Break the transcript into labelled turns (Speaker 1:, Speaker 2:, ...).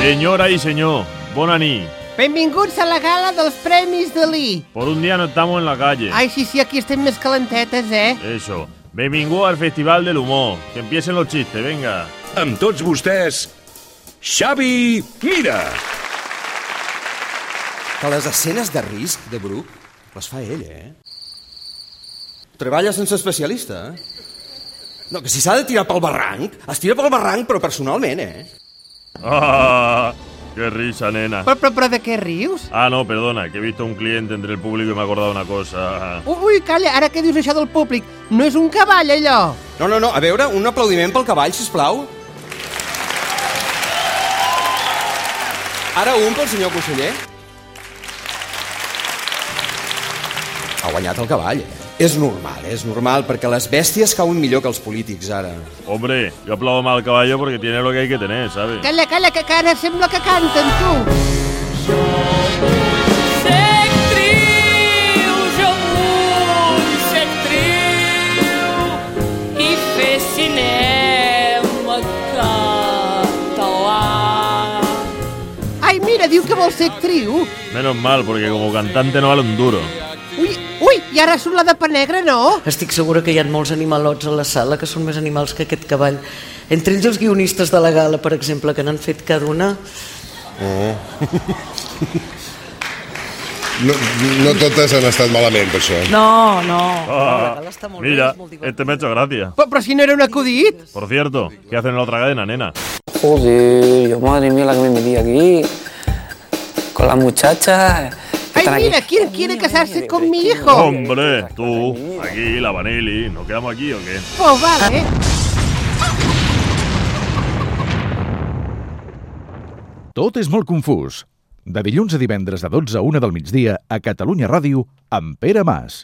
Speaker 1: Senyora i senyor, bona nit.
Speaker 2: Benvinguts a la gala dels Premis Dalí.
Speaker 1: Por un día no estamos en la calle.
Speaker 2: Ai, sí, sí, aquí estem més calentetes, eh?
Speaker 1: Eso. Benvingut al Festival del Humor. Que empiecen los chistes, venga.
Speaker 3: Amb tots vostès, Xavi Mira.
Speaker 4: Que les escenes de risc de Bruc les fa ell, eh? Treballa sense especialista, eh? No, que si s'ha de tirar pel barranc, es tira pel barranc, però personalment, eh?
Speaker 1: Ah, qué risa, nena.
Speaker 2: Però, però, però de què rius?
Speaker 1: Ah, no, perdona, que he visto un cliente entre el público y me he acordado una cosa.
Speaker 2: Ui, Ui, calla, ara que dius això del públic, no és un cavall, allò?
Speaker 4: No, no, no, a veure, un aplaudiment pel cavall, si plau. Ara un pel senyor conseller. Ha guanyat el cavall, eh? És normal, és normal, perquè les bèsties cauen millor que els polítics, ara.
Speaker 1: Hombre, yo aplaudo mal al caballo porque tiene lo que hay que tener, ¿sabes?
Speaker 2: Calla, calla, que que ara sembla que canten, tu.
Speaker 5: Sec trio, jo vull ser actriu i fer cinema català.
Speaker 2: Ai, mira, diu que vol ser actriu.
Speaker 1: Menos mal, porque como cantante no vale un duro.
Speaker 2: Ui, ui, i ara surt la de Panegra, no?
Speaker 6: Estic segura que hi ha molts animalots a la sala que són més animals que aquest cavall. Entre ells els guionistes de la gala, per exemple, que n'han fet cada una.
Speaker 7: No, no totes han estat malament, per això.
Speaker 6: No, no.
Speaker 1: Ah,
Speaker 6: la gala està molt bé,
Speaker 1: mira,
Speaker 6: és molt divertida.
Speaker 1: este me ha hecho gracia.
Speaker 2: Però, però si no era un acudit.
Speaker 1: Por cierto, ¿qué hacen en la otra cadena, nena?
Speaker 8: Joder, yo, madre mía la que me metí aquí. Con las muchachas.
Speaker 2: Ay,
Speaker 8: Están aquí.
Speaker 2: mira, quiere- quiere casarse con
Speaker 8: pero
Speaker 2: mi
Speaker 8: es que
Speaker 2: hijo.
Speaker 8: no-
Speaker 1: Hombre, tú, aquí, la Vanelli, ¿nos quedamos aquí o qué?
Speaker 2: Pues Oh, vale.
Speaker 9: Tot és molt confús. De dilluns a divendres de 12 a 1 del migdia a Catalunya Ràdio amb Pere Mas.